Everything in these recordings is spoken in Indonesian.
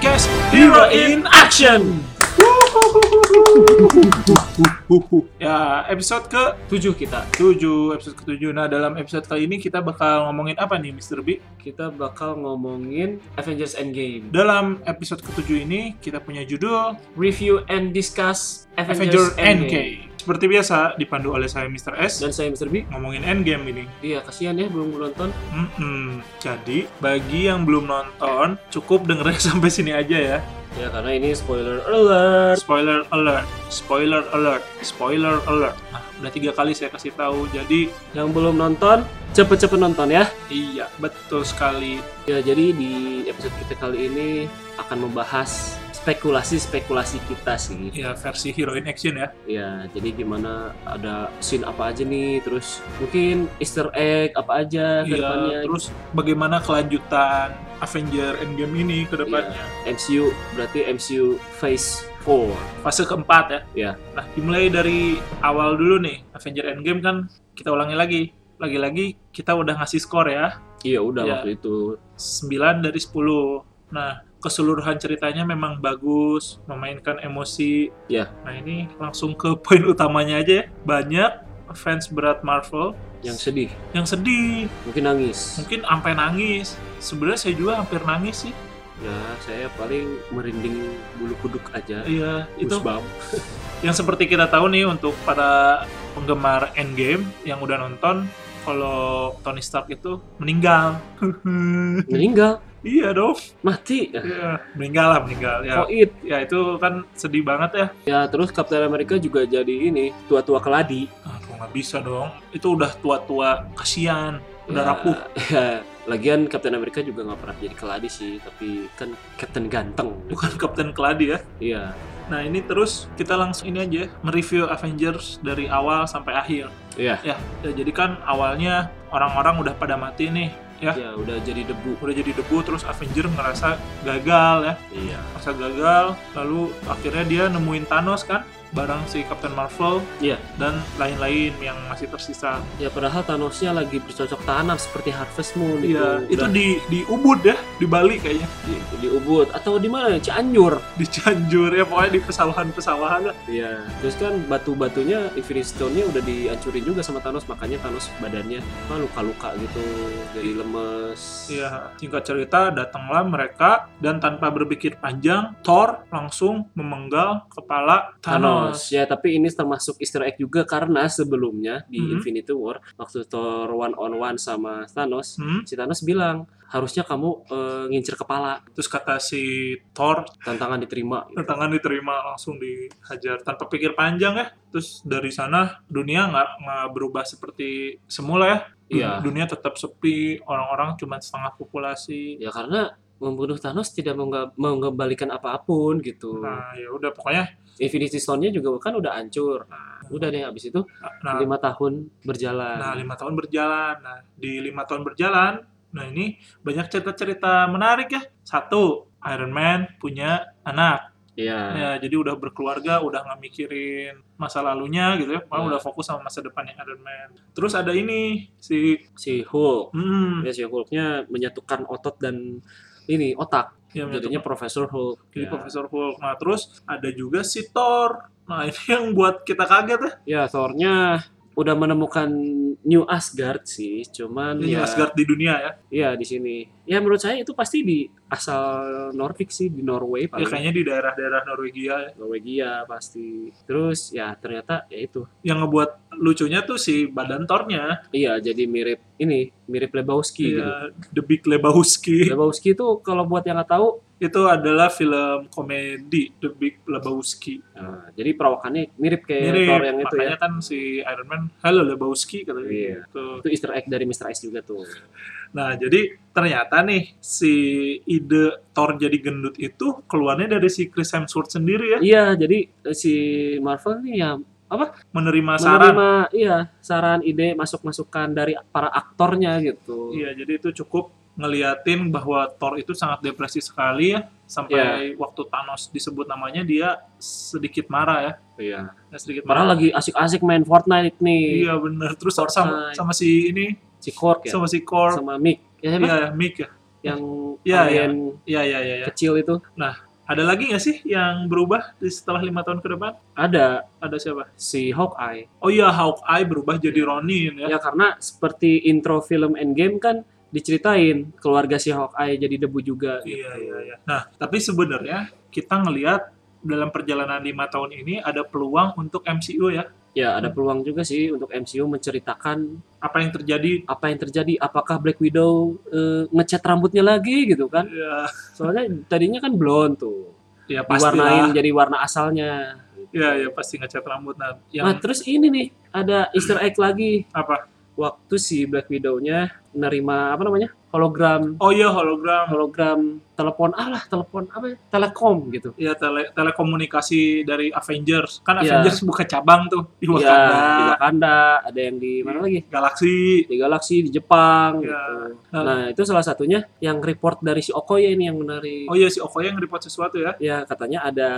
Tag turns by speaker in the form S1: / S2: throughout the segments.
S1: Hero in Action. ya, episode ke-7 kita. 7, episode ke-7. Nah, dalam episode kali ini kita bakal ngomongin apa nih, Mr. B?
S2: Kita bakal ngomongin Avengers Endgame.
S1: Dalam episode ke-7 ini kita punya judul
S2: Review and discuss
S1: Avenger
S2: Avengers,
S1: NK.
S2: Endgame.
S1: Seperti biasa dipandu oleh saya Mr. S.
S2: Dan saya Mr. B.
S1: Ngomongin Endgame ini.
S2: Iya, kasihan ya belum nonton.
S1: Mm-mm. Jadi, bagi yang belum nonton, cukup dengerin sampai sini aja ya.
S2: Ya karena ini spoiler alert.
S1: Spoiler alert, spoiler alert, spoiler alert. Nah, udah tiga kali saya kasih tahu. Jadi,
S2: Yang belum nonton, cepet-cepet nonton ya.
S1: iya, betul sekali.
S2: Ya, jadi di episode kita kali ini akan membahas spekulasi-spekulasi kita sih.
S1: Ya, versi Hero in Action ya.
S2: Ya, jadi gimana ada scene apa aja nih, terus mungkin easter egg apa aja ke depannya.
S1: Iya, terus bagaimana kelanjutan Avenger Endgame ini ke depannya?
S2: MCU berarti MCU Phase 4.
S1: Fase keempat ya.
S2: Iya.
S1: Nah, dimulai dari awal dulu nih. Avenger Endgame kan kita ulangi lagi. Lagi-lagi kita udah ngasih skor ya.
S2: Iya, udah
S1: Iya.
S2: waktu itu.
S1: 9 dari 10. Nah, keseluruhan ceritanya memang bagus, memainkan emosi.
S2: Ya.
S1: Nah, ini langsung ke poin utamanya aja ya. Banyak fans berat Marvel
S2: Yang sedih,
S1: yang sedih,
S2: mungkin nangis.
S1: mungkin sampai nangis. Sebenarnya saya juga hampir nangis sih.
S2: Ya, saya paling merinding bulu kuduk aja.
S1: Iya, itu
S2: Goosebump.
S1: yang seperti kita tahu nih untuk para penggemar Endgame yang udah nonton kalau Tony Stark itu meninggal.
S2: meninggal,
S1: iya dong.
S2: mati.
S1: Iya, meninggal lah, meninggal. Ya,
S2: Koit.
S1: ya itu kan sedih banget ya.
S2: Ya, terus Captain America juga jadi ini tua-tua keladi.
S1: Aku Ah, nggak bisa dong. Itu udah tua-tua, kasihan, udah
S2: Ya,
S1: rapuh.
S2: ya. Lagian Captain America juga nggak pernah jadi keladi sih, tapi kan Captain ganteng.
S1: Bukan Kapten Keladi ya.
S2: Iya.
S1: Nah ini terus kita langsung ini aja mereview Avengers dari awal sampai akhir.
S2: Iya.
S1: Ya, ya jadi kan awalnya orang-orang udah pada mati nih. Ya.
S2: Ya, udah jadi debu.
S1: Udah jadi debu terus Avenger ngerasa gagal ya.
S2: Iya.
S1: Ngerasa gagal lalu akhirnya dia nemuin Thanos kan bareng si Captain Marvel
S2: Iya.
S1: dan lain-lain yang masih tersisa.
S2: Ya padahal Thanosnya lagi bercocok tanam seperti Harvest Moon
S1: Iya, itu
S2: itu. Udah
S1: di di Ubud ya, di Bali kayaknya.
S2: di, di Ubud atau di mana? Cianjur.
S1: Di Cianjur ya, pokoknya di pesawahan-pesawahan lah.
S2: Iya. Terus kan batu-batunya Infinity Stone-nya udah dihancurin juga sama Thanos, makanya Thanos badannya apa luka-luka gitu, jadi lemes.
S1: Ya, singkat cerita datanglah mereka dan tanpa berpikir panjang, Thor langsung memenggal kepala Thanos.
S2: Thanos. Ya, tapi ini termasuk easter egg juga karena sebelumnya di
S1: Mhm.
S2: Infinity War waktu Thor one on one sama Thanos,
S1: Hmm,
S2: si Thanos bilang, "Harusnya kamu eh, ngincir kepala,
S1: Terus kata si Thor,
S2: tantangan diterima."
S1: tangan diterima langsung dihajar tanpa pikir panjang ya. Terus dari sana dunia nggak nggak berubah seperti semula ya.
S2: Iya.
S1: Dunia tetap sepi, orang-orang cuma setengah populasi.
S2: Ya karena membunuh Thanos tidak mengga- mengembalikan apapun gitu.
S1: Nah, ya udah pokoknya
S2: Infinity Stone-nya juga kan udah hancur. Udah deh abis itu
S1: nah,
S2: lima tahun berjalan.
S1: Nah, lima tahun berjalan. Nah, di lima tahun berjalan, nah ini banyak cerita-cerita menarik ya. Satu, Iron Man punya anak.
S2: Iya.
S1: Ya, jadi udah berkeluarga, udah nggak mikirin masa lalunya gitu ya. Malah
S2: Ya.
S1: udah fokus sama masa depannya Iron Man. Terus ada ini, si...
S2: Si Hulk.
S1: Hmm,
S2: Ya si Hulk-nya menyatukan otot dan ini otak.
S1: ya,
S2: Jadinya Profesor Hulk.
S1: jadi
S2: ya.
S1: Profesor Hulk. Nah, terus ada juga si Thor. Nah, ini yang buat kita kaget ya.
S2: Ya, Thor-nya udah menemukan New Asgard sih, cuman
S1: Ini
S2: ya
S1: Asgard di dunia ya.
S2: ya di sini. Ya menurut saya itu pasti di asal Nordic sih, di Norway
S1: Ya,
S2: paling.
S1: kayaknya di daerah-daerah Norwegia ya.
S2: Norwegia pasti. Terus ya ternyata ya itu.
S1: Yang ngebuat lucunya tuh si badan Thornya.
S2: Iya, jadi mirip ini, mirip Lebowski gitu.
S1: Iya, The Big Lebowski.
S2: Lebowski itu kalau buat yang nggak tahu,
S1: Itu adalah film komedi The Big Lebowski.
S2: nah, jadi perawakannya mirip kayak
S1: Mirip,
S2: Thor yang itu ya.
S1: makanya kan si Iron Man, halo Lebowski kata dia
S2: Iya.
S1: gitu.
S2: Itu Easter egg dari Mr. Ice juga tuh.
S1: Nah, jadi ternyata nih si ide Thor jadi gendut itu keluarnya dari si Chris Hemsworth sendiri ya,
S2: Iya, jadi eh, si Marvel nih ya
S1: menerima saran.
S2: menerima iya saran ide masuk masukan dari para aktornya gitu.
S1: Iya, jadi itu cukup ngeliatin bahwa Thor itu sangat depresi sekali ya sampai
S2: Iya.
S1: waktu Thanos disebut namanya dia sedikit marah ya.
S2: Iya.
S1: Dia sedikit marah.
S2: Padahal lagi asik-asik main Fortnite nih.
S1: Iya bener, terus Thor sama,
S2: Fortnite.
S1: sama si ini,
S2: Si Cork ya
S1: sama si Korg,
S2: sama Mick. Ya, siapa?
S1: Iya, Mick ya.
S2: yang
S1: Iya,
S2: alien
S1: Iya, iya, iya. Ya.
S2: kecil itu.
S1: Ada lagi nggak sih yang berubah di setelah lima tahun ke depan?
S2: Ada
S1: Ada siapa?
S2: si Hawkeye.
S1: Oh iya, Hawkeye berubah jadi Ronin ya.
S2: Ya karena seperti intro film Endgame kan diceritain keluarga si Hawkeye jadi debu juga. gitu.
S1: Iya, iya, iya. Nah, tapi sebenarnya kita ngelihat dalam perjalanan lima tahun ini ada peluang untuk MCU ya.
S2: Ya ada peluang juga sih untuk MCU menceritakan
S1: Apa yang terjadi?
S2: apa yang terjadi. Apakah Black Widow eh, ngecat rambutnya lagi gitu kan?
S1: Ya,
S2: Soalnya tadinya kan blonde tuh.
S1: ya pastilah.
S2: Diwarnain jadi warna asalnya.
S1: Ya, ya pasti ngecat rambut. Nah,
S2: Nah,
S1: yang
S2: terus ini nih ada Easter egg lagi
S1: apa?
S2: waktu si Black Widow-nya nerima apa namanya? hologram
S1: Oh iya, hologram.
S2: hologram telepon ah lah telepon apa ya? Telekom gitu.
S1: Ya, tele- telekomunikasi dari Avengers. Kan
S2: Iya.
S1: Avengers buka cabang tuh di
S2: Iya,
S1: Wakanda,
S2: di Wakanda, ada yang di mana lagi?
S1: Galaxy.
S2: Di galaksi di
S1: Iya.
S2: Jepang gitu.
S1: Nah.
S2: Nah, itu salah satunya yang report dari si Okoye ini yang menarik.
S1: Oh iya, si Okoye yang report sesuatu ya.
S2: Ya, katanya ada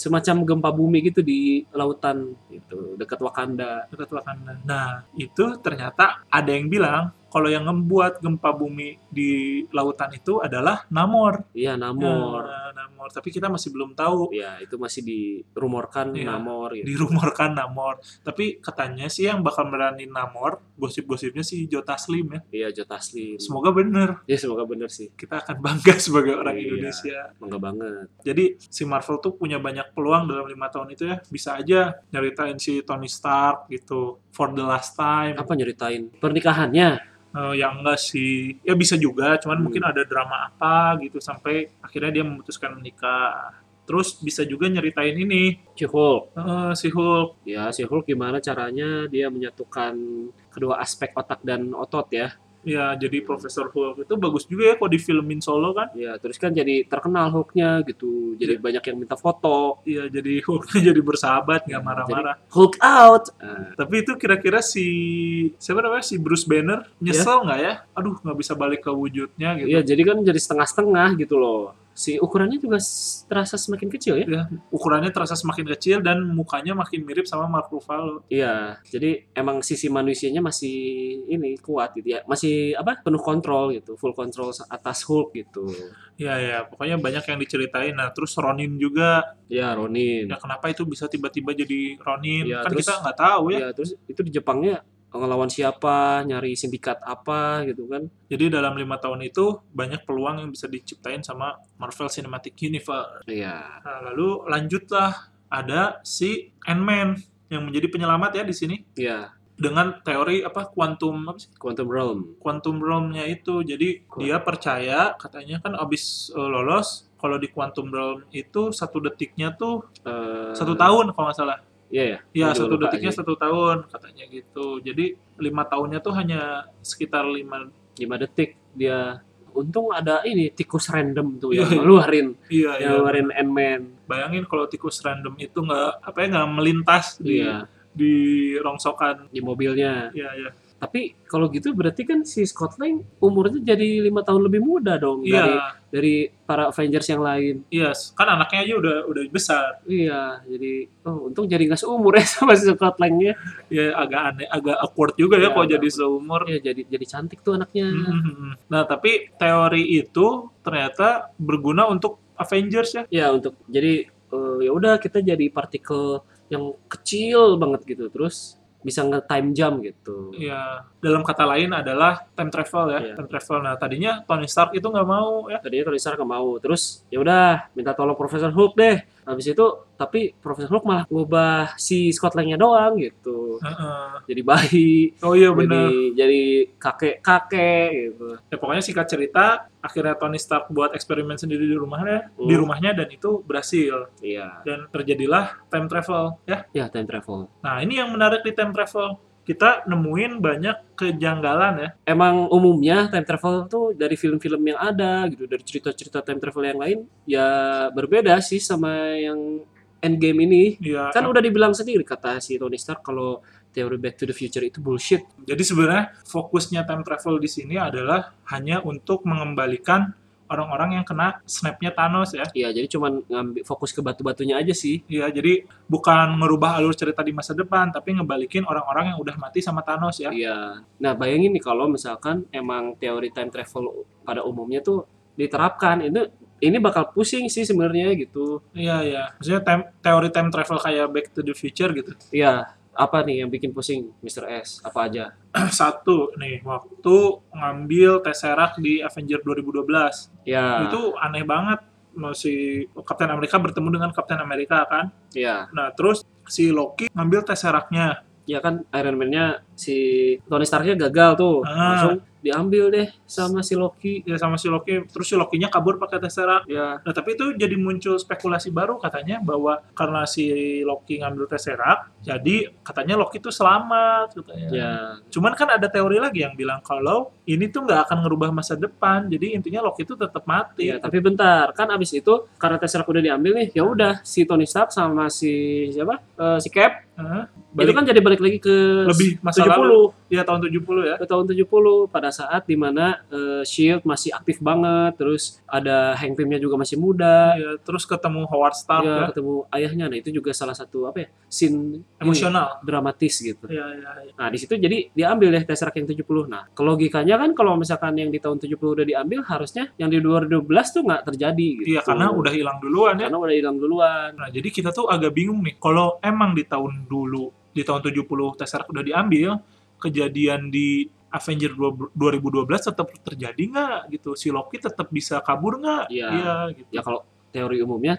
S2: semacam gempa bumi gitu di lautan gitu, dekat Wakanda.
S1: dekat Wakanda. Nah, itu ternyata ada yang bilang kalau yang membuat gempa bumi di lautan itu adalah Namor.
S2: Iya, Namor.
S1: Nah, Namor. Tapi kita masih belum tahu
S2: Ya, itu masih dirumorkan
S1: Hmm. Iya.
S2: Namor gitu.
S1: dirumorkan Namor. Tapi katanya sih yang bakal meranin Namor, gosip-gosipnya si Jota Slim ya.
S2: Iya, Joe Taslim.
S1: Semoga bener.
S2: Ya semoga bener sih,
S1: Kita akan bangga sebagai orang
S2: Iya.
S1: Indonesia.
S2: bangga banget.
S1: Jadi si Marvel tuh punya banyak peluang dalam lima tahun itu ya. Bisa aja nyeritain si Tony Stark gitu. For the last time.
S2: Apa nyeritain pernikahannya?
S1: Eh, yang enggak sih ya bisa juga cuman
S2: Hmm.
S1: mungkin ada drama apa gitu sampai akhirnya dia memutuskan menikah terus bisa juga nyeritain ini
S2: Si Hulk.
S1: eh, si Hulk
S2: Ya si Hulk gimana caranya dia menyatukan kedua aspek otak dan otot ya.
S1: ya jadi Profesor Hulk itu bagus juga ya kalau difilmin solo kan
S2: Ya terus kan jadi terkenal Hulknya gitu. Jadi banyak yang minta foto.
S1: Iya jadi Hulk jadi bersahabat nggak
S2: Ya,
S1: marah-marah
S2: Hulk out. Nah,
S1: tapi itu kira-kira si siapa namanya si Bruce Banner nyesel nggak ya aduh nggak bisa balik ke wujudnya gitu
S2: Iya jadi kan jadi setengah-setengah gitu loh. Si ukurannya juga s- terasa semakin kecil ya.
S1: ukurannya terasa semakin kecil dan mukanya makin mirip sama Mark Ruffalo
S2: Iya. Jadi emang sisi manusianya masih ini kuat gitu ya. Masih apa? Penuh kontrol gitu. Full kontrol atas Hulk gitu.
S1: Iya ya pokoknya banyak yang diceritain nah terus Ronin juga
S2: Ya Ronin.
S1: Ya kenapa itu bisa tiba-tiba jadi Ronin?
S2: Ya,
S1: kan
S2: terus-
S1: kita nggak tahu ya.
S2: Ya, terus itu di Jepangnya ngelawan siapa, nyari sindikat apa gitu kan.
S1: Jadi dalam lima tahun itu banyak peluang yang bisa diciptain sama Marvel Cinematic Universe.
S2: Iya.
S1: Nah, lalu lanjutlah ada si Ant-Man yang menjadi penyelamat ya di sini
S2: Iya,
S1: dengan teori apa quantum apa sih?
S2: Quantum Realm.
S1: quantum realm-nya itu. Jadi
S2: Quantum.
S1: dia percaya katanya kan abis eh, lolos kalau di quantum realm itu satu detiknya tuh
S2: Eh,
S1: satu tahun kalau nggak salah. Ya
S2: Iya ya. Gua juga
S1: satu
S2: lupa
S1: detiknya
S2: sih.
S1: satu tahun katanya gitu. Jadi lima tahunnya tuh hanya sekitar lima.
S2: Lima detik dia untung ada ini tikus random tuh yang
S1: Iya.
S2: ngeluarin,
S1: Iya
S2: yang
S1: iya.
S2: ngeluarin Ant-Man.
S1: Bayangin kalau tikus random itu nggak apa ya nggak melintas di
S2: Iya,
S1: di rongsokan.
S2: di mobilnya.
S1: Iya iya.
S2: Tapi kalau gitu berarti kan si Scott Lang umurnya jadi lima tahun lebih muda dong
S1: Iya
S2: dari dari para Avengers yang lain.
S1: iya. Kan anaknya aja udah udah besar.
S2: Iya, jadi oh untung jadi nggak seumur ya sama si Scott Lang-nya.
S1: Ya agak aneh agak awkward juga ya
S2: Iya,
S1: kalau
S2: agak
S1: jadi
S2: awkward.
S1: seumur.
S2: Iya, jadi jadi cantik tuh anaknya.
S1: Mhm. Nah tapi teori itu ternyata berguna untuk Avengers ya.
S2: ya untuk jadi eh, ya udah kita jadi partikel yang kecil banget gitu terus bisa nge time jump gitu
S1: Ya dalam kata lain adalah time travel ya.
S2: Iya.
S1: Time travel. Nah tadinya Tony Stark itu nggak mau ya.
S2: tadinya Tony Stark nggak mau terus ya udah minta tolong Profesor Hulk deh habis itu tapi Profesor Hulk malah ngubah si Scott Lang-nya doang gitu
S1: Heeh.
S2: jadi bayi
S1: Oh iya
S2: jadi
S1: benar.
S2: jadi kakek kakek gitu
S1: Ya, pokoknya singkat cerita, akhirnya Tony Stark buat eksperimen sendiri di rumahnya,
S2: Hmm.
S1: di rumahnya dan itu berhasil
S2: iya
S1: dan terjadilah time travel ya.
S2: ya time travel
S1: Nah, ini yang menarik di time travel. Kita nemuin banyak kejanggalan ya.
S2: emang umumnya time travel tuh dari film-film yang ada gitu dari cerita-cerita time travel yang lain ya berbeda sih sama yang Endgame ini
S1: Iya.
S2: kan udah dibilang sendiri kata si Tony Stark kalau teori Back to the Future itu bullshit
S1: Jadi sebenarnya fokusnya time travel di sini adalah hanya untuk mengembalikan orang-orang yang kena snapnya Thanos ya.
S2: ya jadi cuman ngambil fokus ke batu-batunya aja sih
S1: Iya, jadi bukan ngerubah alur cerita di masa depan, tapi ngebalikin orang-orang yang udah mati sama Thanos ya.
S2: Iya. Nah, bayangin nih kalau misalkan emang teori time travel pada umumnya tuh diterapkan, itu ini bakal pusing sih sebenarnya gitu.
S1: Iya iya. Maksudnya time- teori time travel kayak Back to the Future gitu.
S2: Iya, apa nih yang bikin pusing Mr. S? Apa aja?
S1: Satu nih waktu ngambil Tesseract di Avenger 2012
S2: Ya.
S1: itu aneh banget. Mau si Kapten Amerika bertemu dengan Kapten Amerika kan.
S2: Iya.
S1: Nah terus si Loki ngambil Tesseract-nya.
S2: Ya kan Iron Man-nya si Tony Stark-nya gagal tuh.
S1: Ah.
S2: Langsung diambil deh sama si Loki.
S1: Ya sama si Loki. Terus si Loki-nya kabur pakai Tesseract.
S2: Ya,
S1: Nah, tapi itu jadi muncul spekulasi baru katanya bahwa karena si Loki ngambil Tesseract, jadi katanya Loki itu selamat katanya.
S2: ya.
S1: Cuman kan ada teori lagi yang bilang kalau ini tuh nggak akan ngerubah masa depan, jadi intinya Loki itu tetap mati.
S2: Ya, tapi bentar, kan abis itu karena Tesseract udah diambil nih, ya udah si Tony Stark sama si siapa? Eh, si Cap
S1: Hah?
S2: itu
S1: Balik
S2: kan jadi balik lagi ke
S1: lebih masa
S2: 70
S1: lalu. Ya tahun 70 ya.
S2: ke tahun 70 pada saat dimana eh, Shield masih aktif banget, terus ada Hank Pym-nya juga masih muda.
S1: Ya, terus ketemu Howard Stark
S2: ya,
S1: ya.
S2: ketemu ayahnya nah itu juga salah satu apa ya scene
S1: Emosional.
S2: ini, dramatis gitu
S1: Ya, ya, ya.
S2: nah di situ jadi diambil deh Tesseract yang 70 nah kelogikanya kan kalau misalkan yang di tahun 70 udah diambil harusnya yang di 2012 tuh nggak terjadi gitu
S1: Iya, karena udah hilang duluan ya.
S2: karena udah hilang duluan
S1: Nah, jadi kita tuh agak bingung nih. Kalau emang di tahun dulu, di tahun 70 Tesseract udah diambil, kejadian di Avenger 2012 tetap terjadi nggak gitu? Si Loki tetap bisa kabur nggak?
S2: Iya.
S1: gitu.
S2: ya kalau teori umumnya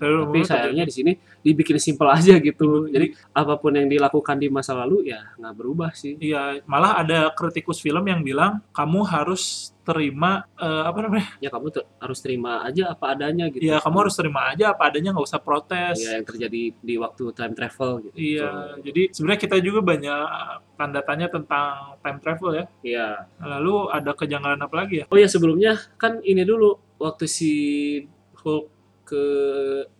S1: Teori
S2: tapi
S1: umumnya Iya.
S2: sayangnya di sini dibikin simpel aja gitu jadi apapun yang dilakukan di masa lalu ya nggak berubah sih
S1: Iya, malah ada kritikus film yang bilang kamu harus terima eh, apa namanya?
S2: ya kamu ter- harus terima aja apa adanya gitu
S1: Iya, kamu harus terima aja apa adanya, nggak usah protes.
S2: ya yang terjadi di waktu time travel gitu
S1: Iya, jadi sebenarnya kita juga banyak tanda tanya tentang time travel ya.
S2: iya
S1: Lalu ada kejanggalan apa lagi ya?
S2: Oh ya sebelumnya kan ini dulu waktu si Hulk ke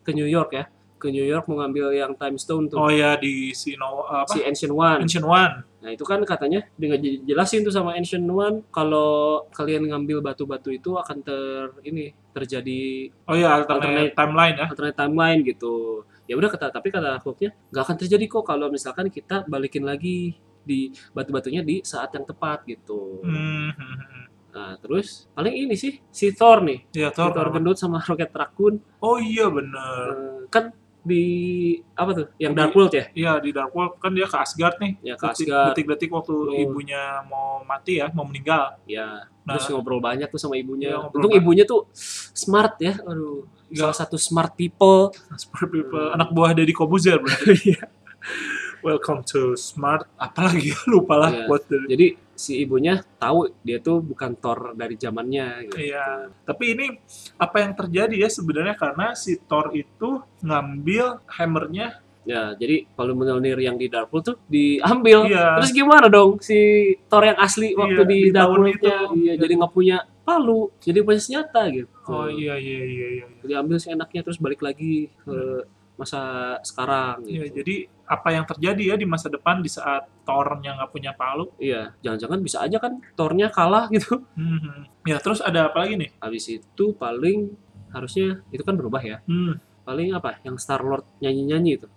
S2: ke New York ya, ke New York mengambil yang Time Stone tuh
S1: Oh ya di si no, apa?
S2: si Ancient One.
S1: Ancient One.
S2: Nah itu kan katanya dengan j- jelasin tuh sama Ancient One kalau kalian ngambil batu-batu itu akan ter ini terjadi
S1: Oh iya, alternate,
S2: Alternate.
S1: timeline ya.
S2: alternate timeline gitu. Ya udah kata tapi kata Hulknya nggak akan terjadi kok kalau misalkan kita balikin lagi di batu-batunya di saat yang tepat gitu.
S1: Hmm, hmm, hmm.
S2: Nah terus paling ini sih si Thor nih,
S1: Iya,
S2: si
S1: Thor.
S2: Thor kan. gendut sama Rocket Raccoon
S1: Oh iya bener.
S2: Eh, kan di apa tuh yang Dark World ya
S1: Iya di Dark World kan dia ke Asgard nih.
S2: ya ke
S1: Detik-
S2: Asgard
S1: Detik-detik waktu
S2: Betul.
S1: ibunya mau mati ya, mau meninggal.
S2: ya
S1: Nah.
S2: terus ngobrol banyak tuh sama ibunya
S1: Iya, ngobrol
S2: untung
S1: banyak.
S2: ibunya tuh smart ya aduh
S1: Iya.
S2: salah satu smart people
S1: Smart people,
S2: Hmm.
S1: anak buah Deddy Kobuzer berarti.
S2: Iya.
S1: Welcome to Smart. Apalagi lupa lah
S2: Iya.
S1: buat dari-
S2: jadi si ibunya tahu dia tuh bukan Thor dari zamannya gitu.
S1: Iya, tapi ini apa yang terjadi ya sebenarnya karena si Thor itu ngambil hammernya.
S2: ya jadi kalau Mjolnir yang di Dark World tuh diambil
S1: Iya.
S2: terus gimana dong si Thor yang asli waktu
S1: Iya,
S2: di,
S1: di
S2: Dark
S1: tahun
S2: World-nya
S1: itu.
S2: iya jadi nggak punya palu jadi punya senjata gitu
S1: Oh iya iya iya iya.
S2: diambil seenaknya terus balik lagi ke masa
S1: Hmm.
S2: sekarang
S1: Iya,
S2: gitu.
S1: jadi apa yang terjadi ya di masa depan di saat Thor-nya nggak punya palu?
S2: Iya, jangan-jangan bisa aja kan tornya kalah gitu.
S1: Hmm. Ya terus ada apa lagi nih?
S2: Habis itu paling harusnya itu kan berubah ya.
S1: Hmm.
S2: Paling apa? Yang Star Lord nyanyi-nyanyi itu.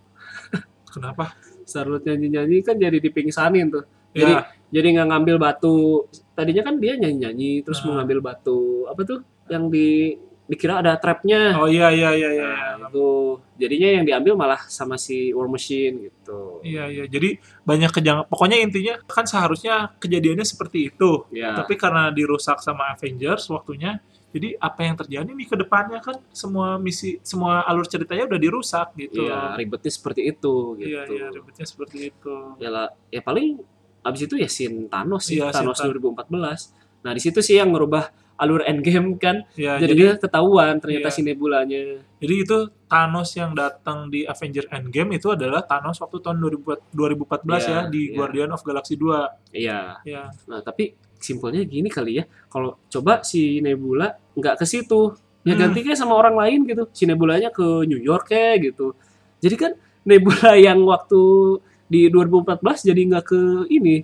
S1: Kenapa?
S2: Star Lord nyanyi-nyanyi kan jadi dipingsanin tuh. Jadi
S1: Ya,
S2: jadi nggak ngambil batu. Tadinya kan dia nyanyi-nyanyi terus
S1: Hmm.
S2: mau ngambil batu apa tuh yang di dikira ada trapnya.
S1: oh iya iya iya iya.
S2: Nah, itu jadinya yang diambil malah sama si War Machine gitu.
S1: Iya iya. Jadi banyak kejang. Pokoknya intinya kan seharusnya kejadiannya seperti itu.
S2: Ya.
S1: Tapi karena dirusak sama Avengers waktunya, jadi apa yang terjadi nih ke depannya kan semua misi semua alur ceritanya udah dirusak gitu.
S2: Iya, ribetnya seperti itu gitu.
S1: Iya iya ribetnya seperti itu.
S2: ya, lah- ya paling abis itu ya sin Thanos sih
S1: Iya, scene
S2: Thanos
S1: Thanos.
S2: 2014 nah di situ sih yang merubah alur endgame kan
S1: Iya.
S2: jadi,
S1: Jadi
S2: dia ketahuan ternyata
S1: Iya.
S2: si nebulanya
S1: jadi itu Thanos yang datang di Avengers Endgame itu adalah Thanos waktu tahun 2000 2014
S2: Iya,
S1: ya di
S2: iya.
S1: Guardian of Galaxy 2.
S2: iya
S1: Iya.
S2: nah tapi simpelnya gini kali ya kalau coba si nebula nggak ke situ ya
S1: Hmm.
S2: ganti kayak sama orang lain gitu si nebulanya ke New York kayak gitu jadi kan nebula yang waktu di 2014 jadi nggak ke ini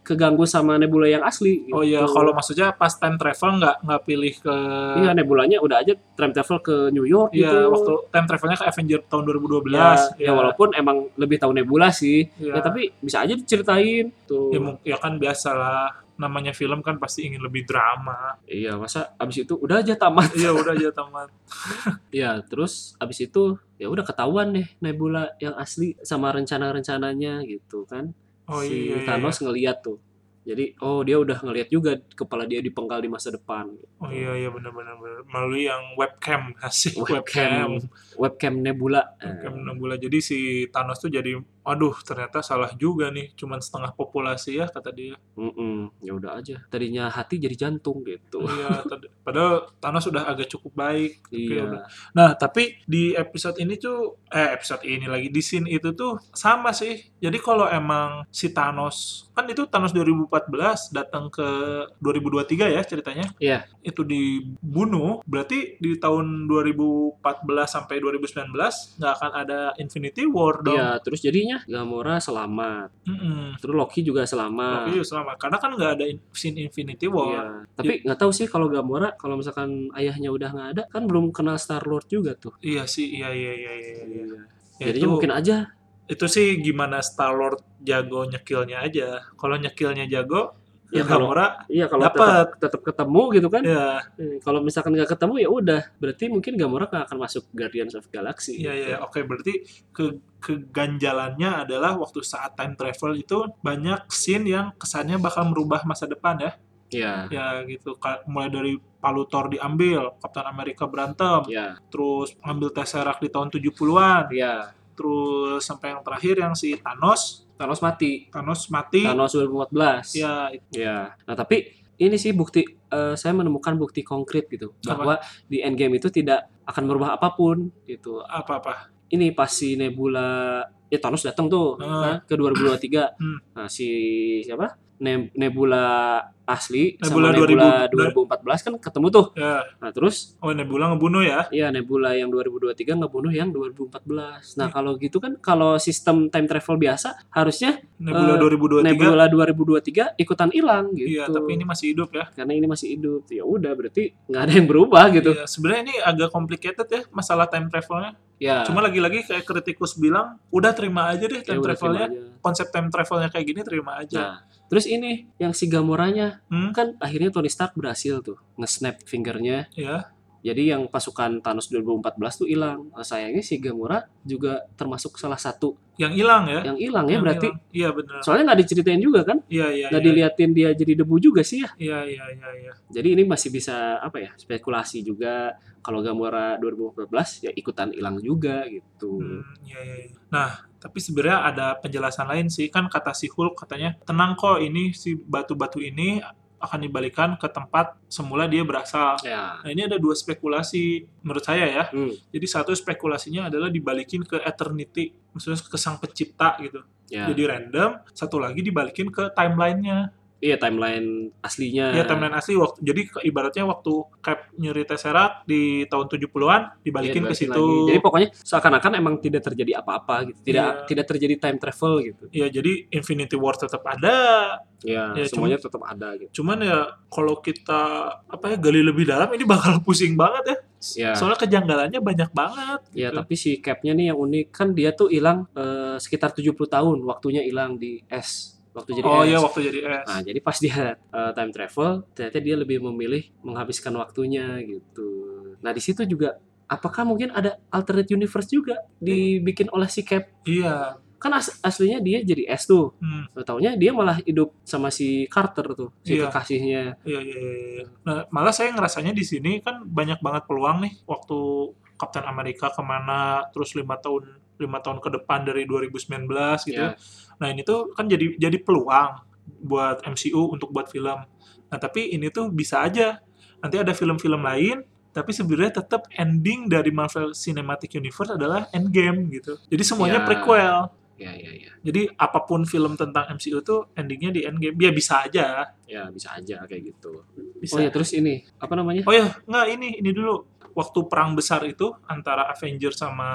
S2: keganggu sama nebula yang asli
S1: Oh iya,
S2: gitu.
S1: kalau maksudnya pas time travel nggak nggak pilih ke
S2: Iya nebulanya udah aja time travel ke New York
S1: Iya,
S2: gitu.
S1: waktu time travelnya ke Avenger tahun 2012.
S2: ya, ya walaupun emang lebih tahu nebula sih.
S1: Iya.
S2: Ya tapi bisa aja diceritain tuh.
S1: Ya, mung- ya kan biasa lah. namanya film kan pasti ingin lebih drama.
S2: Iya, masa abis itu udah aja tamat.
S1: Iya udah aja tamat.
S2: Iya, terus abis itu ya udah ketahuan deh Nebula yang asli sama rencana-rencananya gitu kan.
S1: Oh
S2: si
S1: iya, iya.
S2: Thanos ngeliat tuh. Jadi oh dia udah ngeliat juga kepala dia dipenggal di masa depan. gitu.
S1: Oh iya iya benar-benar benar. melalui yang webcam asik
S2: Webcam. Nah.
S1: webcam.
S2: Webcam Nebula. Eh,
S1: Webcam enam bulan. Jadi si Thanos tuh jadi aduh ternyata salah juga nih cuman setengah populasi ya kata dia.
S2: mm-mm, ya udah aja. Tadinya hati jadi jantung gitu.
S1: Iya, tad- padahal Thanos sudah agak cukup baik.
S2: iya.
S1: Nah, tapi di episode ini tuh, eh episode ini lagi, di scene itu tuh sama sih. Jadi kalau emang si Thanos, kan itu Thanos 2014 datang ke 2023 ya ceritanya.
S2: Iya.
S1: Itu dibunuh, berarti di tahun 2014 sampai 2019 nggak akan ada Infinity War dong.
S2: Iya, terus jadinya Gamora selamat.
S1: Mm-mm.
S2: Terus Loki juga selamat.
S1: Oke, selama. Karena kan nggak ada in- scene Infinity
S2: Ah. Iya.
S1: War.
S2: Tapi nggak tahu sih kalau Gamora kalau misalkan ayahnya udah nggak ada kan belum kenal Star Lord juga tuh.
S1: Iya sih, iya, iya, iya, iya. iya. Ya,
S2: Jadinya
S1: itu-
S2: mungkin aja
S1: itu sih gimana Star Lord jago nyekilnya aja. Kalau nyekilnya jago, ya
S2: Ya, kalau-
S1: Gamora
S2: iya kalau
S1: Dapat.
S2: tetap, tetap ketemu gitu kan.
S1: ya
S2: Eh, Kalau misalkan nggak ketemu ya udah berarti mungkin Gamora nggak akan masuk Guardians of Galaxy.
S1: ya
S2: gitu.
S1: ya oke berarti ke keganjalannya adalah waktu saat time travel itu banyak scene yang kesannya bakal merubah masa depan ya.
S2: Iya.
S1: Ya gitu Ka- mulai dari Palutor diambil, Kapten Amerika berantem,
S2: Iya.
S1: terus ambil Tesseract di tahun 70-an,
S2: Iya.
S1: terus sampai yang terakhir yang si Thanos,
S2: Thanos mati.
S1: Thanos mati.
S2: Thanos 2014.
S1: Ya, itu-
S2: Ya, nah tapi ini sih bukti eh, saya menemukan bukti konkret gitu bahwa di endgame itu tidak akan merubah apapun gitu.
S1: apa-apa.
S2: Ini pas si Nebula ya Thanos datang tuh
S1: Hmm.
S2: kan, ke 2023.
S1: Hmm.
S2: Nah, si siapa? Ne- Nebula asli
S1: Nebula
S2: sama Nebula 2014 kan ketemu tuh.
S1: Ya,
S2: Nah, terus
S1: oh Nebula ngebunuh ya.
S2: ya Nebula yang 2023 ngebunuh yang 2014.
S1: Iya.
S2: Nah, kalau gitu kan kalau sistem time travel biasa harusnya
S1: Nebula
S2: Eh,
S1: 2023.
S2: Nebula 2023 ikutan hilang gitu.
S1: Iya, tapi ini masih hidup ya.
S2: karena ini masih hidup ya udah berarti nggak ada yang berubah gitu
S1: Iya, sebenarnya ini agak complicated ya masalah time travelnya.
S2: ya
S1: Iya. Cuma lagi-lagi kayak kritikus bilang, udah terima aja deh
S2: ya
S1: time
S2: udah terima
S1: travelnya. Iya.
S2: aja.
S1: Konsep time travelnya kayak gini terima aja.
S2: nah terus ini yang si Gamoranya
S1: Hmm,
S2: kan akhirnya Tony Stark berhasil tuh nge-snap fingernya
S1: ya.
S2: jadi yang pasukan Thanos 2014 tuh hilang Nah, sayangnya si Gamora juga termasuk salah satu
S1: Yang hilang ya.
S2: yang hilang ya
S1: Yang
S2: berarti
S1: hilang. Iya benar.
S2: soalnya nggak diceritain juga kan
S1: Iya iya.
S2: nggak
S1: iya.
S2: diliatin dia jadi debu juga sih ya
S1: Iya iya iya iya.
S2: jadi ini masih bisa apa ya spekulasi juga kalau Gamora 2014 ya ikutan hilang juga gitu
S1: Hmm, iya, iya, iya. Nah, tapi sebenarnya ada penjelasan lain sih. Kan kata si Hulk katanya, tenang kok ini si batu-batu ini akan dibalikan ke tempat semula dia berasal.
S2: ya
S1: Nah, ini ada dua spekulasi menurut saya ya.
S2: hmm,
S1: Jadi satu spekulasinya adalah dibalikin ke eternity, maksudnya ke sang pencipta gitu.
S2: ya.
S1: Jadi random, satu lagi dibalikin ke timelinenya.
S2: Iya timeline aslinya.
S1: Ya timeline asli waktu. Jadi ke- ibaratnya waktu Cap nyuri Tesseract di tahun 70-an
S2: Iya,
S1: dibalikin ke
S2: dibalikin
S1: situ.
S2: lagi. Jadi pokoknya seakan-akan emang tidak terjadi apa-apa gitu. Tidak
S1: Iya.
S2: tidak terjadi time travel gitu.
S1: Ya jadi Infinity War tetap ada.
S2: Ya,
S1: Ya,
S2: semuanya tetap ada gitu.
S1: Cuman ya kalau kita apa ya gali lebih dalam ini bakal pusing banget ya.
S2: Ya.
S1: Soalnya kejanggalannya banyak banget.
S2: Ya,
S1: gitu.
S2: tapi si capnya nih yang unik kan dia tuh hilang eh, sekitar 70 tahun waktunya hilang di S. Waktu jadi
S1: oh
S2: S.
S1: iya waktu jadi S.
S2: Nah, jadi pas dia eh, time travel, ternyata dia lebih memilih menghabiskan waktunya gitu. Nah, di situ juga apakah mungkin ada alternate universe juga dibikin oleh si cap?
S1: Iya.
S2: Kan as- aslinya dia jadi S tuh.
S1: Hmm.
S2: Nggak taunya dia malah hidup sama si Carter tuh, si
S1: Iya.
S2: kekasihnya.
S1: Iya, iya, iya, iya. Nah, malah saya ngerasanya di sini kan banyak banget peluang nih waktu Kapten Amerika kemana, terus lima tahun lima tahun ke depan dari 2019 gitu. ya.
S2: Iya.
S1: Nah ini tuh kan jadi jadi peluang buat MCU untuk buat film. Nah tapi ini tuh bisa aja nanti ada film-film lain, tapi sebenarnya tetap ending dari Marvel Cinematic Universe adalah Endgame gitu. Jadi semuanya
S2: Iya.
S1: prequel.
S2: Ya, ya, ya.
S1: Jadi apapun film tentang MCU tuh endingnya di Endgame. Ya bisa aja.
S2: Ya, bisa aja kayak gitu.
S1: Bisa.
S2: Oh ya, terus ini apa namanya?
S1: Oh ya, nggak ini ini dulu waktu perang besar itu antara Avenger sama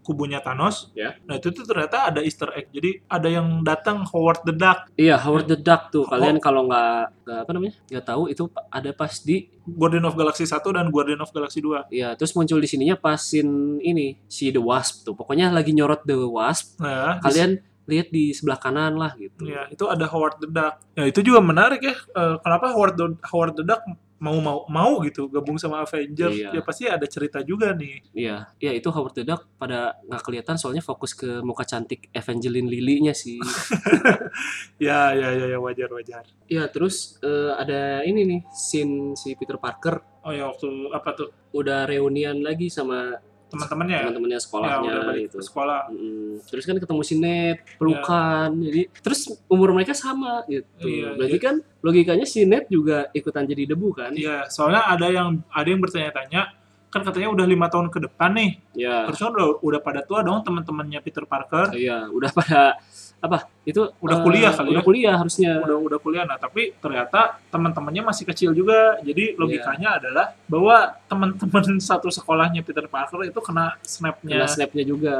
S1: kubunya Thanos.
S2: Ya.
S1: Nah itu tuh ternyata ada Easter egg. Jadi ada yang datang Howard the Duck,
S2: Iya, Howard the Duck
S1: Oh.
S2: tuh. Kalian kalau nggak nggak apa namanya? nggak tahu itu ada pas di
S1: Guardian of Galaxy 1 dan Guardian of Galaxy 2.
S2: ya terus muncul di sininya pas scene ini si The Wasp tuh. Pokoknya lagi nyorot The Wasp.
S1: Nah, di-
S2: Kalian lihat di sebelah kanan lah gitu.
S1: Ya, itu ada Howard the Duck. Ya, itu juga menarik ya. Eh, kenapa Howard the, Howard the Duck mau mau mau gitu gabung sama Avengers?
S2: Iya.
S1: Ya pasti ada cerita juga nih.
S2: Iya, ya itu Howard the Duck pada nggak kelihatan soalnya fokus ke muka cantik Evangeline Lily-nya sih.
S1: Ya, ya, ya, ya wajar wajar.
S2: ya terus eh, ada ini nih scene si Peter Parker
S1: Oh ya waktu apa tuh
S2: udah reunian lagi sama
S1: teman-temannya?
S2: teman-temannya
S1: Ya,
S2: sekolahnya
S1: udah balik
S2: gitu.
S1: ke sekolah.
S2: Mm, terus kan ketemu si Ned, pelukan, jadi terus umur mereka sama gitu.
S1: Iya,
S2: Berarti kan logikanya si Ned juga ikutan jadi debu kan?
S1: Iya, soalnya ada yang ada yang bertanya-tanya kan katanya udah lima tahun ke depan nih.
S2: Iya,
S1: Harusnya udah, udah pada tua dong teman-temannya Peter Parker.
S2: iya, udah pada apa? Itu
S1: Udah
S2: eh,
S1: kuliah kali
S2: udah
S1: ya?
S2: kuliah harusnya.
S1: udah udah kuliah nah tapi ternyata teman-temannya masih kecil juga
S2: Iya.
S1: jadi logikanya adalah bahwa teman-teman satu sekolahnya Peter Parker itu kena
S2: Kena
S1: snapnya
S2: snapnya juga.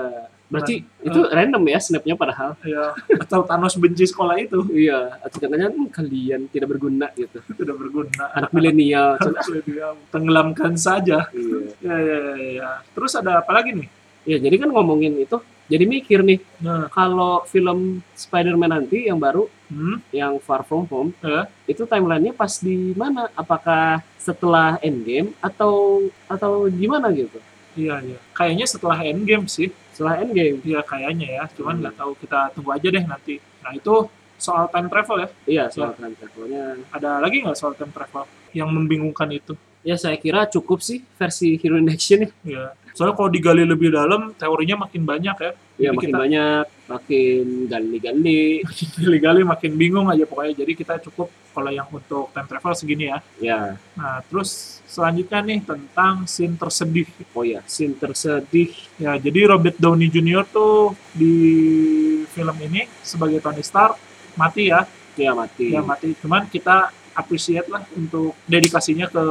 S2: Berarti itu
S1: Eh.
S2: random ya snapnya padahal.
S1: ya atau Thanos benci sekolah itu
S2: Iya, atau jangan-jangan "Hmm, kalian tidak berguna gitu.
S1: tidak berguna
S2: Anak milenial. cuman.
S1: Dia tenggelamkan saja
S2: iya.
S1: ya, ya ya ya. terus ada apa lagi nih
S2: Ya, jadi kan ngomongin itu jadi mikir nih
S1: nah
S2: kalau film Spider-Man nanti yang baru
S1: hmm,
S2: yang Far From Home
S1: Eh?
S2: itu timelinenya pas di mana? Apakah setelah Endgame atau atau gimana gitu?
S1: iya iya kayaknya setelah Endgame sih
S2: Setelah Endgame,
S1: ya kayaknya ya cuman
S2: Hmm.
S1: nggak tahu kita tunggu aja deh nanti nah itu soal time travel ya
S2: iya soal time travel-nya.
S1: ada lagi nggak soal time travel yang membingungkan itu
S2: Ya saya kira cukup sih versi Hero in Action ya.
S1: Ya. Soalnya kalau digali lebih dalam, teorinya makin banyak ya.
S2: Ya
S1: Jadi
S2: makin
S1: kita-
S2: banyak, makin gali-gali.
S1: Digali-gali makin bingung aja pokoknya. Jadi kita cukup kalau yang untuk time travel segini ya.
S2: ya,
S1: Nah, terus selanjutnya nih tentang scene tersedih.
S2: oh ya, scene tersedih.
S1: Ya, jadi Robert Downey Jr. tuh di film ini sebagai Tony Stark mati ya.
S2: Ya mati.
S1: Ya mati. Cuman kita appreciate lah untuk dedikasinya ke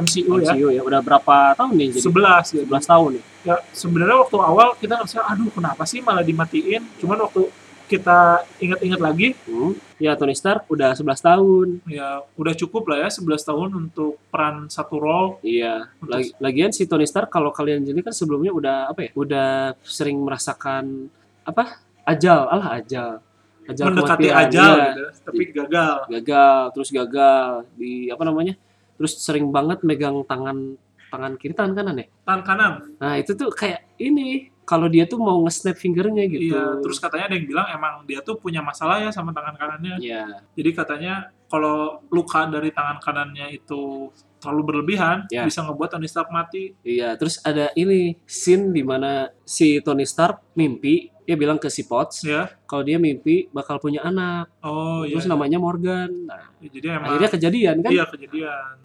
S1: MCU, ya.
S2: MCU ya. Udah berapa tahun nih jadi?
S1: 11 ya.
S2: 11 tahun ya.
S1: ya sebenarnya waktu awal kita ngerasa aduh kenapa sih malah dimatiin cuman waktu kita ingat-ingat lagi
S2: Hmm. Ya Tony Stark udah 11 tahun.
S1: ya udah cukup lah ya 11 tahun untuk peran satu role
S2: Iya,
S1: Untuk-
S2: lagi- lagian si Tony Stark kalau kalian jadi kan sebelumnya udah apa ya? Udah sering merasakan apa? Ajal, alah ajal. Ajal
S1: mendekati
S2: kematian,
S1: ajal
S2: iya.
S1: gitu tapi gagal
S2: Gagal, terus gagal di apa namanya? Terus sering banget megang tangan tangan kiri tangan kanan ya.
S1: tangan kanan
S2: Nah, itu tuh kayak ini kalau dia tuh mau nge-snap fingernya gitu.
S1: iya terus katanya ada yang bilang emang dia tuh punya masalah ya sama tangan kanannya
S2: Iya,
S1: jadi katanya kalau luka dari tangan kanannya itu terlalu berlebihan
S2: Ya.
S1: bisa ngebuat Tony Stark mati
S2: iya, terus ada ini scene di mana si Tony Stark mimpi dia bilang ke si Potts
S1: ya
S2: kalau dia mimpi bakal punya anak.
S1: oh iya
S2: terus namanya Morgan. Nah,
S1: Ya, jadi emang
S2: akhirnya kejadian kan? Iya.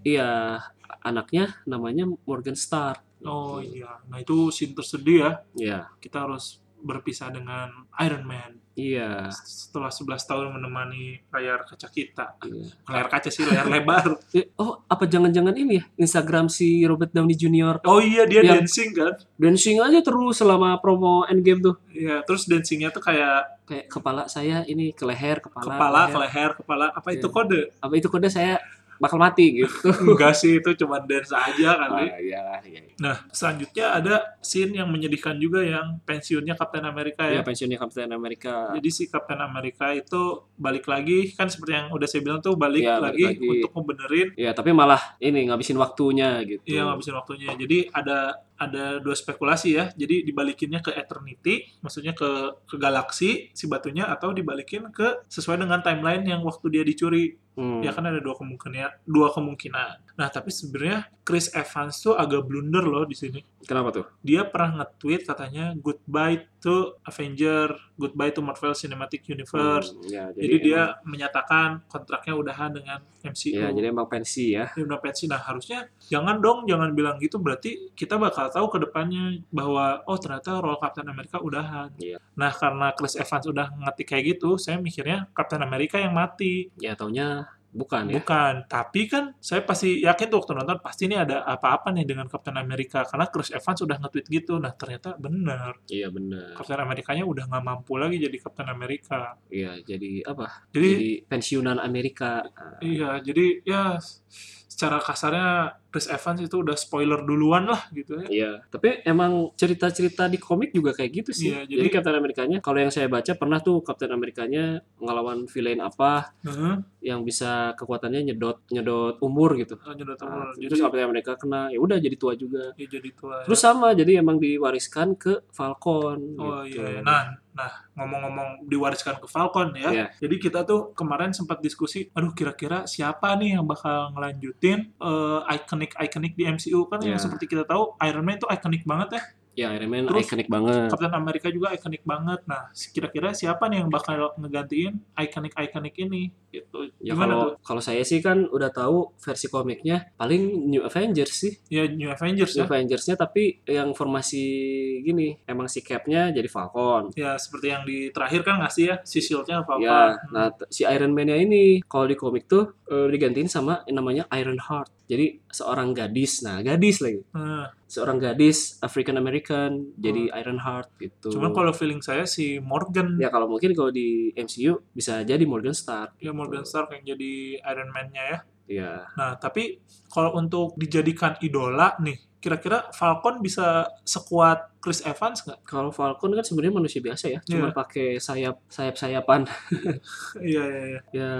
S1: iya kejadian
S2: anaknya namanya Morgan Star.
S1: oh iya nah itu scene tersedih ya
S2: Iya.
S1: kita harus berpisah dengan Iron Man
S2: Iya.
S1: setelah 11 tahun menemani layar kaca kita
S2: iya.
S1: layar kaca sih layar lebar
S2: Eh, Oh, apa jangan-jangan ini ya Instagram si Robert Downey Jr.
S1: Oh iya dia
S2: Yang-
S1: dancing kan.
S2: dancing aja terus selama promo Endgame tuh.
S1: Iya, terus dancingnya tuh kayak
S2: Kayak kepala saya ini ke leher, kepala.
S1: kepala
S2: leher.
S1: ke leher, kepala apa itu
S2: Iya.
S1: kode?
S2: Apa itu kode saya bakal mati gitu.
S1: Enggak sih itu cuma dance aja kali.
S2: iyalah, iya.
S1: Nah, selanjutnya ada scene yang menyedihkan juga yang pensiunnya Kapten Amerika
S2: Ya
S1: ya.
S2: pensiunnya Kapten Amerika.
S1: Jadi si Kapten Amerika itu balik lagi kan seperti yang udah saya bilang tuh balik,
S2: Iya, balik
S1: lagi,
S2: lagi.
S1: untuk membenerin
S2: Ya, tapi malah ini ngabisin waktunya gitu.
S1: Iya ngabisin waktunya. Jadi ada ada dua spekulasi ya. Jadi dibalikinnya ke eternity, maksudnya ke ke galaksi si batunya atau dibalikin ke sesuai dengan timeline yang waktu dia dicuri.
S2: Hmm.
S1: ya kan ada dua kemungkinan dua kemungkinan nah tapi sebenarnya Chris Evans tuh agak blunder loh di sini
S2: Kenapa tuh?
S1: dia pernah nge-tweet katanya goodbye to Avenger goodbye to Marvel Cinematic Universe
S2: Hmm, ya,
S1: jadi, dia menyatakan kontraknya udahan dengan MCU
S2: Ya, jadi emang pensi ya.
S1: dia udah pensi nah harusnya jangan dong jangan bilang gitu berarti kita bakal tahu ke depannya bahwa oh ternyata role Captain America udahan
S2: Iya.
S1: nah karena Chris Evans udah ngetik kayak gitu saya mikirnya Captain America yang mati
S2: Ya, taunya bukan ya.
S1: Bukan, tapi kan saya pasti yakin tuh waktu nonton pasti ini ada apa-apa nih dengan Captain America karena Chris Evans udah nge-tweet gitu. Nah, ternyata benar.
S2: Iya benar.
S1: Captain Amerikanya udah nggak mampu lagi jadi Captain America.
S2: Iya jadi Ah, apa?
S1: Jadi
S2: Jadi pensiunan Amerika.
S1: iya, jadi ya secara kasarnya Chris Evans itu udah spoiler duluan lah gitu ya.
S2: Iya, tapi emang cerita-cerita di komik juga kayak gitu sih.
S1: Iya,
S2: jadi,
S1: jadi-
S2: Captain Amerikanya, kalau yang saya baca pernah tuh Captain Amerikanya ngelawan villain apa
S1: Heeh,
S2: yang bisa kekuatannya nyedot nyedot umur gitu.
S1: lanjut data
S2: Nah,
S1: moral. Jadi
S2: terus Captain Amerika kena, ya udah jadi tua juga.
S1: ya jadi tua. ya.
S2: Terus sama, jadi emang diwariskan ke Falcon.
S1: Oh
S2: gitu.
S1: iya, iya. nah, nah ngomong-ngomong diwariskan ke Falcon ya.
S2: Iya.
S1: Jadi kita tuh kemarin sempat diskusi, aduh kira-kira siapa nih yang bakal ngelanjutin eh, iconic-iconic di MCU kan
S2: Iya.
S1: yang seperti kita tahu Iron Man itu iconic banget ya,
S2: Ya Iron Man
S1: Terus-
S2: ikonik banget.
S1: Captain America juga iconic banget. Nah kira-kira siapa nih yang bakal ngegantiin iconic-iconic ini? Gitu.
S2: Ya
S1: Gimana tuh?
S2: kalau kalau saya sih kan udah tahu versi komiknya paling New Avengers sih.
S1: Ya New Avengers
S2: New
S1: ya.
S2: Avengersnya tapi yang formasi gini emang si Capnya jadi Falcon.
S1: Ya seperti yang di terakhir kan ngasih ya si shieldnya apa apa.
S2: Ya, nah t- si Iron Man-nya ini kalau di komik tuh eh, digantiin sama yang namanya Iron Heart. Jadi seorang gadis, nah gadis lagi, seorang gadis African American jadi Iron Heart gitu.
S1: Hmm. cuman kalau feeling saya si Morgan
S2: ya kalau mungkin kalau di MCU bisa jadi Morgan Stark. gitu.
S1: ya Morgan Stark yang jadi Iron Man-nya ya.
S2: Ya,
S1: Nah, tapi kalau untuk dijadikan idola nih, kira-kira Falcon bisa sekuat Chris Evans nggak?
S2: kalau Falcon kan sebenarnya manusia biasa ya,
S1: Iya.
S2: cuma pakai sayap sayap sayapan.
S1: Iya, iya, iya.
S2: Ya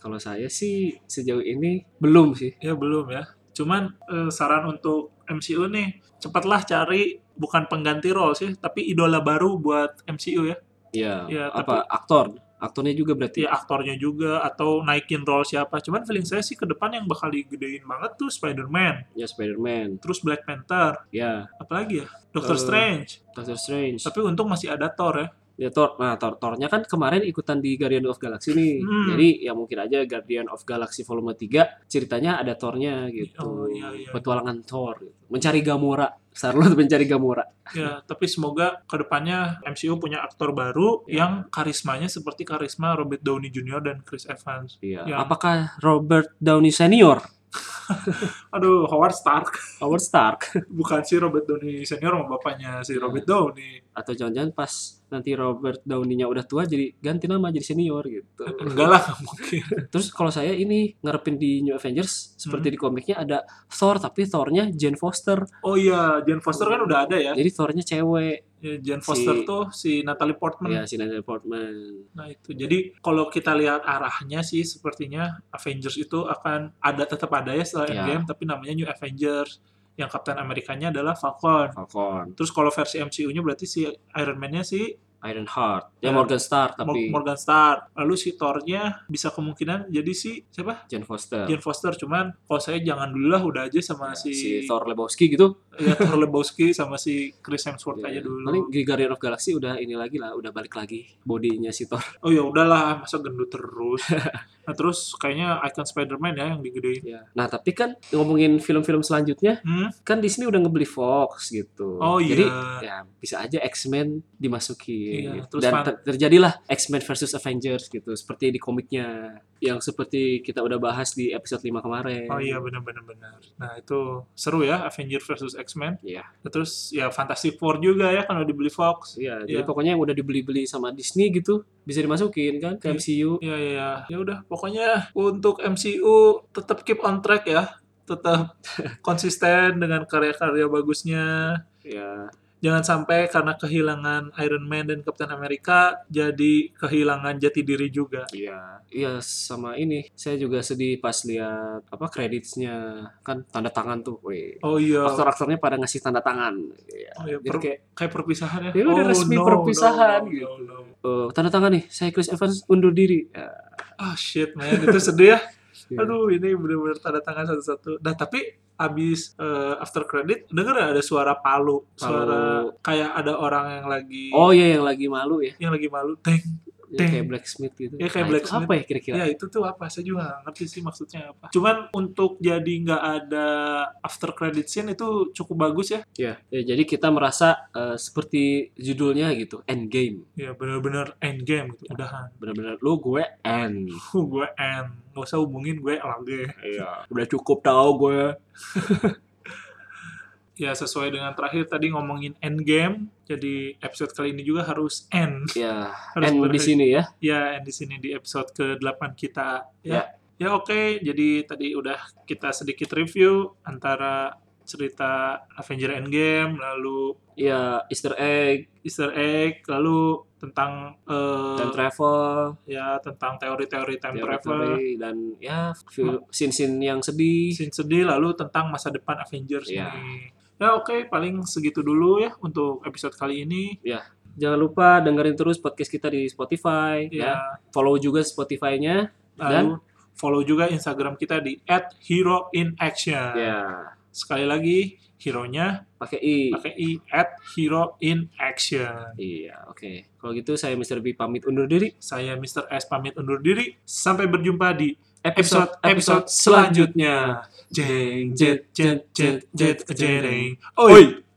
S2: kalau saya sih sejauh ini belum sih.
S1: Ya belum ya. Cuman eh, saran untuk MCU nih, cepatlah cari bukan pengganti role sih, tapi idola baru buat MCU ya.
S2: Ya,
S1: Ya,
S2: apa aktor? Aktornya juga berarti.
S1: Ya aktornya juga atau naikin role siapa. Cuman feeling saya sih ke depan yang bakal digedein banget tuh Spider-Man,
S2: Ya Spider-Man.
S1: terus Black Panther,
S2: Ya,
S1: apalagi ya? Doctor
S2: Eh.
S1: Strange.
S2: Doctor Strange.
S1: Tapi untung masih ada Thor ya.
S2: Ya Thor. Nah, Thor Thornya kan kemarin ikutan di Guardian of Galaxy nih.
S1: Hmm.
S2: Jadi ya mungkin aja Guardian of Galaxy volume 3 ceritanya ada Thornya gitu.
S1: Oh, iya, iya.
S2: Petualangan Thor gitu. Mencari Gamora. Charlotte mencari Gamora.
S1: Ya, tapi semoga kedepannya MCU punya aktor baru
S2: Ya.
S1: yang karismanya seperti karisma Robert Downey Jr. dan Chris Evans.
S2: Iya.
S1: Ya.
S2: Apakah Robert Downey Senior?
S1: Aduh, Howard Stark.
S2: Howard Stark
S1: Bukan si Robert Downey Senior sama bapaknya si
S2: Ya.
S1: Robert Downey.
S2: atau jangan-jangan pas nanti Robert Downey-nya udah tua jadi ganti nama jadi senior gitu.
S1: Enggak lah, nggak mungkin.
S2: Terus kalau saya ini ngarepin di New Avengers seperti
S1: Hmm.
S2: di komiknya ada Thor tapi Thornya Jane Foster.
S1: Oh iya, Jane Foster kan udah ada ya.
S2: Jadi Thornya cewek.
S1: Ya, Jane Foster
S2: Iya. Si-
S1: tuh si Natalie Portman.
S2: Ya si Natalie Portman.
S1: Nah, itu. Jadi kalau kita lihat arahnya sih sepertinya Avengers itu akan ada tetap ada ya setelah
S2: Ya.
S1: Endgame, tapi namanya New Avengers. Yang Kapten Amerikanya adalah Falcon.
S2: Falcon,
S1: Terus kalau versi MCU-nya berarti si Iron Man-nya si
S2: Iron Heart,
S1: Ya.
S2: ya Morgan Stark
S1: Mor-
S2: tapi
S1: Morgan Stark. Lalu si Thor-nya bisa kemungkinan jadi si siapa?
S2: Jane Foster.
S1: Jane Foster. Cuman kalau saya jangan dulu lah udah aja sama
S2: Ya,
S1: Iya, si,
S2: si Thor Lebowski gitu.
S1: ya, Thor Lebowski sama si Chris Hemsworth
S2: Ya,
S1: aja dulu.
S2: Paling di Guardian of Galaxy udah ini lagi lah, udah balik lagi bodinya si Thor.
S1: Oh ya udahlah, masa gendut terus. nah, terus kayaknya icon Spider-Man ya yang digedein.
S2: Ya. Nah, tapi kan ngomongin film-film selanjutnya
S1: Hmm?
S2: kan Disney udah ngebeli Fox gitu.
S1: Oh
S2: Jadi
S1: iya.
S2: ya bisa aja X-Men dimasukin
S1: Iya,
S2: gitu.
S1: terus
S2: dan
S1: fan-
S2: ter- terjadilah X-Men versus Avengers gitu seperti di komiknya yang seperti kita udah bahas di episode 5 kemarin.
S1: Oh iya benar-benar benar. Nah itu seru ya Avengers versus X-Men.
S2: Iya.
S1: Terus ya Fantastic Four juga ya kalau dibeli Fox.
S2: Iya,
S1: Iya.
S2: jadi pokoknya yang udah dibeli-beli sama Disney gitu bisa dimasukin kan ke
S1: Iya.
S2: MCU.
S1: Ya ya ya. Ya udah pokoknya untuk MCU tetap keep on track ya. Tetap konsisten dengan karya-karya bagusnya.
S2: Iya.
S1: Jangan sampai karena kehilangan Iron Man dan Captain America jadi kehilangan jati diri juga.
S2: Iya. Iya sama ini. Saya juga sedih pas lihat apa kreditnya kan tanda tangan tuh. Wih.
S1: Oh iya.
S2: Aktor-aktornya pada ngasih tanda tangan. Iya.
S1: Oh, iya.
S2: Jadi
S1: Per-
S2: kayak
S1: kayak perpisahan ya.
S2: Ya udah, resmi perpisahan gitu. eh, tanda tangan nih, saya Chris Evans undur diri. Ya.
S1: Ah shit man, itu sedih ya.
S2: Iya.
S1: Aduh, ini bener-bener tanda tangan satu-satu. Nah, tapi abis eh, after credit denger nggak ada suara palu, suara kayak ada orang yang lagi
S2: Oh iya yang lagi malu ya.
S1: yang lagi malu teng
S2: Ya,
S1: Teng.
S2: kayak blacksmith gitu.
S1: Ya, kayak
S2: itu
S1: blacksmith.
S2: apa ya kira-kira?
S1: ya itu tuh apa saya juga nggak ngerti sih maksudnya apa cuman untuk jadi nggak ada after credit scene itu cukup bagus ya
S2: Ya. ya, jadi kita merasa eh, seperti judulnya gitu, end game.
S1: ya bener-bener end game gitu udahan
S2: Benar-benar lu gue end.
S1: huh, gue end nggak usah hubungin gue lagi
S2: Iya. Udah cukup tau gue.
S1: ya sesuai dengan terakhir tadi ngomongin end game jadi episode kali ini juga harus end
S2: Ya,
S1: harus
S2: end di
S1: berakhir.
S2: sini ya.
S1: ya end di sini di episode ke-8 kita ya Ya oke, jadi tadi udah kita sedikit review antara cerita Avenger Endgame, lalu
S2: ya Easter egg
S1: Easter egg, lalu tentang eh,
S2: time travel
S1: ya tentang teori-teori time travel,
S2: teori-teori, dan ya feel- scene-scene yang sedih
S1: scene sedih, lalu tentang masa depan Avengers
S2: Ya.
S1: ini. Ya oke, paling segitu dulu ya untuk episode kali ini.
S2: jangan lupa dengerin terus podcast kita di Spotify ya
S1: Ya,
S2: follow juga Spotify-nya
S1: lalu follow juga Instagram kita di @heroinaction.
S2: ya
S1: Sekali lagi, hero-nya
S2: pakai i
S1: pakai E i @heroinaction.
S2: iya oke kalau gitu saya Mr. B pamit undur diri
S1: Saya Mr. S pamit undur diri. Sampai berjumpa di
S2: episode
S1: episode-episode selanjutnya. Jeng jet jet jet jet jeng. Oi.